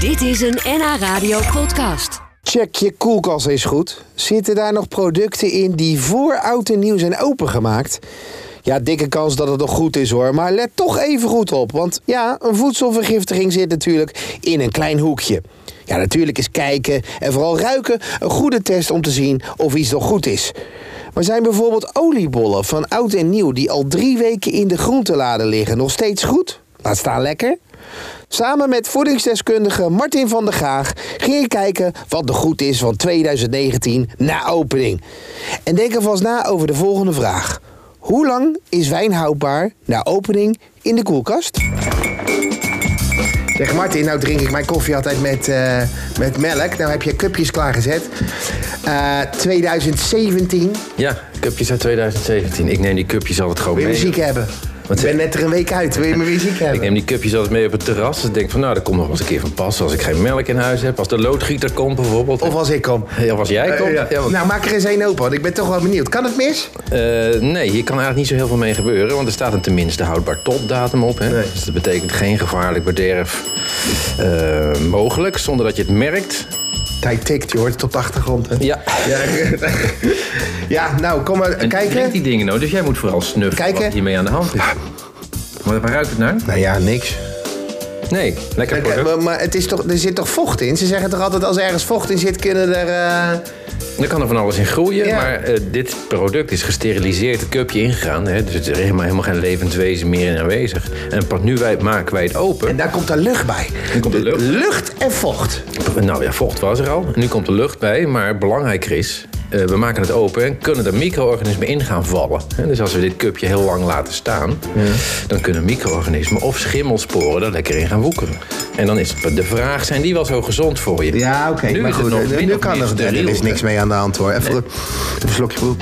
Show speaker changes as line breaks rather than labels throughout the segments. Dit is een NH Radio podcast.
Check je koelkast eens goed. Zitten daar nog producten in die voor oud en nieuw zijn opengemaakt? Ja, dikke kans dat het nog goed is hoor. Maar let toch even goed op. Want ja, een voedselvergiftiging zit natuurlijk in een klein hoekje. Ja, natuurlijk is kijken en vooral ruiken een goede test om te zien of iets nog goed is. Maar zijn bijvoorbeeld oliebollen van oud en nieuw die al drie weken in de groentelade liggen nog steeds goed? Laat staan lekker. Samen met voedingsdeskundige Martin van der Graag ging ik kijken wat de goed is van 2019 na opening. En denk alvast na over de volgende vraag. Hoe lang is wijn houdbaar na opening in de koelkast? Zeg Martin, nou drink ik mijn koffie altijd met, eh, met melk. Nou heb je cupjes klaargezet. Eh 2017
Ja, cupjes uit 2017. Ik neem die cupjes altijd gewoon
Wil je
mee.
muziek hebben?
Wat
ik ben
zeg-
net er een week uit. Wil je mijn muziek
Ik
hebben?
neem die cupjes altijd mee op het terras. Dus ik denk van, nou, dat komt nog wel eens een keer van pas. Als ik geen melk in huis heb. Als de loodgieter komt bijvoorbeeld.
Of als ik kom.
Ja, of als jij komt.
Eh, ja.
Ja, want-
Nou, maak er eens één open, want ik ben toch wel benieuwd. Kan het mis?
Eh, nee, hier kan eigenlijk niet zo heel veel mee gebeuren. Want er staat een tenminste houdbaar topdatum op. Hè? Dus dat betekent geen gevaarlijk bederf eh, mogelijk. Zonder dat je het merkt.
Tijd tikt, je hoort het op de achtergrond. hè?
Ja.
Ja, ja, nou, kom maar
En
kijken.
drink die dingen nou. Dus jij moet vooral snuffelen
Kijken. Ah.
wat hiermee aan de hand is. Maar waar ruikt het naar?
Nou ja, niks.
Nee, lekker product.
Maar, maar het is toch, er zit toch vocht in? Ze zeggen toch altijd als ergens vocht in zit, kunnen er... eh,
Er kan er van alles in groeien,
Ja.
maar eh, dit product is gesteriliseerd, het cupje ingegaan. Hè, dus er is helemaal, helemaal geen levend wezen meer in aanwezig. En pas nu wij, maken wij het open.
En daar komt er lucht bij.
komt er lucht.
Lucht en vocht.
Nou ja, vocht was er al. Nu komt de lucht bij, maar belangrijker is... eh, we maken het open en kunnen er micro-organismen in gaan vallen. Hè, dus als we dit cupje heel lang laten staan... dan kunnen micro-organismen of schimmelsporen er lekker in gaan woekeren. En dan is het de vraag, zijn die wel zo gezond voor je?
Ja, oké.
Nu
Maar
is het
goed,
nog
nu,
min
nu
of
kan
meer
er, er
steriel,
is niks
hè.
mee aan de hand hoor. Even, even een slokje proef.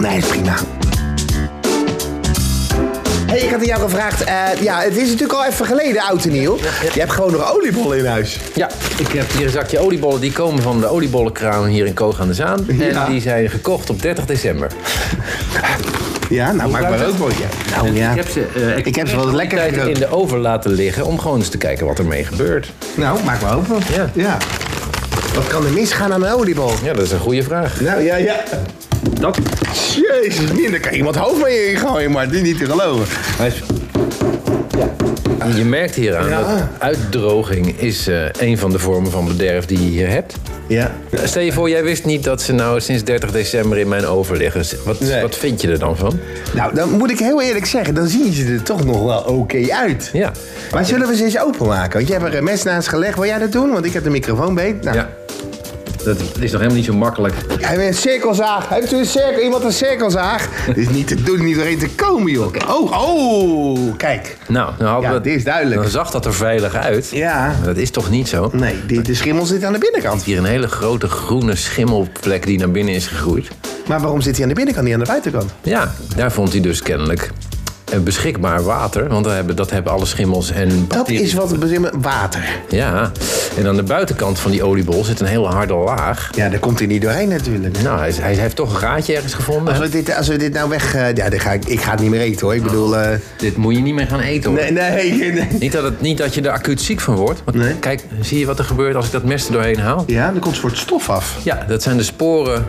Nee, is prima. Hey, ik had aan jou gevraagd, eh, ja, het is natuurlijk al even geleden, oud en nieuw. Je hebt gewoon nog oliebollen in huis.
Ja, ik heb hier een zakje oliebollen. Die komen van de oliebollenkraam hier in Koog aan de Zaan. En
Ja.
die zijn gekocht op 30 december.
Ja, nou, maak
ruikt
maar
het?
ook wel. Ja. Nou ja,
Ik heb ze, eh,
ik heb ze wel lekker
tijd in
gerookt.
de oven laten liggen om gewoon eens te kijken wat ermee gebeurt.
Nou, maak maar open.
Ja.
Wat kan er misgaan aan een oliebol?
Ja, dat is een goede vraag.
Nou, ja, ja.
Dat?
Jezus, min, daar kan iemand hoofd mee ingooien, maar dit is niet te geloven.
Je merkt hieraan
Ja.
dat uitdroging is eh, een van de vormen van bederf die je hier hebt.
Ja.
Stel je voor, jij wist niet dat ze nou sinds 30 december in mijn oven liggen. Wat,
Nee.
wat vind je er dan van?
Nou, dan moet ik heel eerlijk zeggen, dan zien ze er toch nog wel oké uit.
Ja.
Maar zullen we ze eens openmaken? Want jij hebt er een mes naast gelegd. Wil jij dat doen? Want ik heb de microfoon beet. Nou,
ja. Dat is toch helemaal niet zo makkelijk.
Hij heeft een cirkelzaag. Heeft u een cirkel, iemand een cirkelzaag? Dit is niet te doen, niet doorheen te komen, joh. Oh, oh, kijk.
Nou, nou hadden
Ja,
we-
dit is duidelijk.
Dan zag dat er veilig uit.
Ja.
Maar Dat is toch niet zo?
Nee, de, de schimmel zit aan de binnenkant.
Hier een hele grote groene schimmelplek die naar binnen is gegroeid.
Maar waarom zit hij aan de binnenkant, niet aan de buitenkant?
Ja, daar vond hij dus kennelijk eh, beschikbaar water. Want dat hebben, dat hebben alle schimmels en
Dat
bacteriën.
is wat we bezinnen. Water.
Ja, en aan de buitenkant van die oliebol zit een hele harde laag.
Ja, daar komt hij niet doorheen natuurlijk.
Nou, hij, hij heeft toch een gaatje ergens gevonden.
Als we dit, als we dit nou weg... eh, ja, dan ga ik, ik ga het niet meer eten hoor. Ik bedoel... eh,
Dit moet je niet meer gaan eten hoor.
nee, nee, nee.
Niet, dat het, niet dat je er acuut ziek van wordt. Want
Nee.
kijk, zie je wat er gebeurt als ik dat mes er doorheen haal?
Ja, dan komt een soort stof af.
Ja, dat zijn de sporen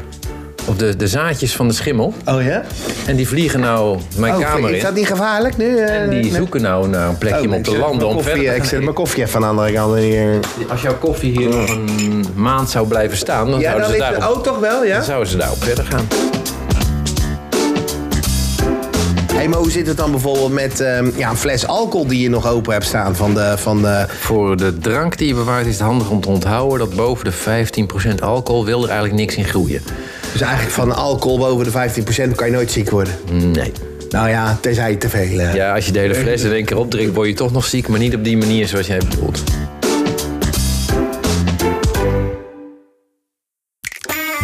of de, de zaadjes van de schimmel.
Oh ja?
En die vliegen nou mijn
Oh,
kamer
is
in.
dat niet gevaarlijk nu? eh?
En die zoeken nou naar een plekje
Oh,
om op
ik
te
zet
landen.
mijn
Om
koffie,
verder
eh,
te
Ik zet
gaan.
mijn Oh. koffie even aan de andere kant. hier.
Als jouw koffie hier nog een maand zou blijven staan, dan, zouden, ze daarop,
toch wel, ja?
dan zouden ze daarop verder gaan.
Hey, maar hoe zit het dan bijvoorbeeld met ehm, ja, een fles alcohol die je nog open hebt staan van de... Van de...
Voor de drank die je bewaart is het handig om te onthouden dat boven de 15% alcohol wil er eigenlijk niks in groeien.
Dus eigenlijk van alcohol boven de 15% kan je nooit ziek worden.
Nee.
Nou ja, tenzij je te veel... eh,
Ja, als je de hele fles in één keer opdrinkt, word je toch nog ziek, maar niet op die manier zoals jij bedoelt.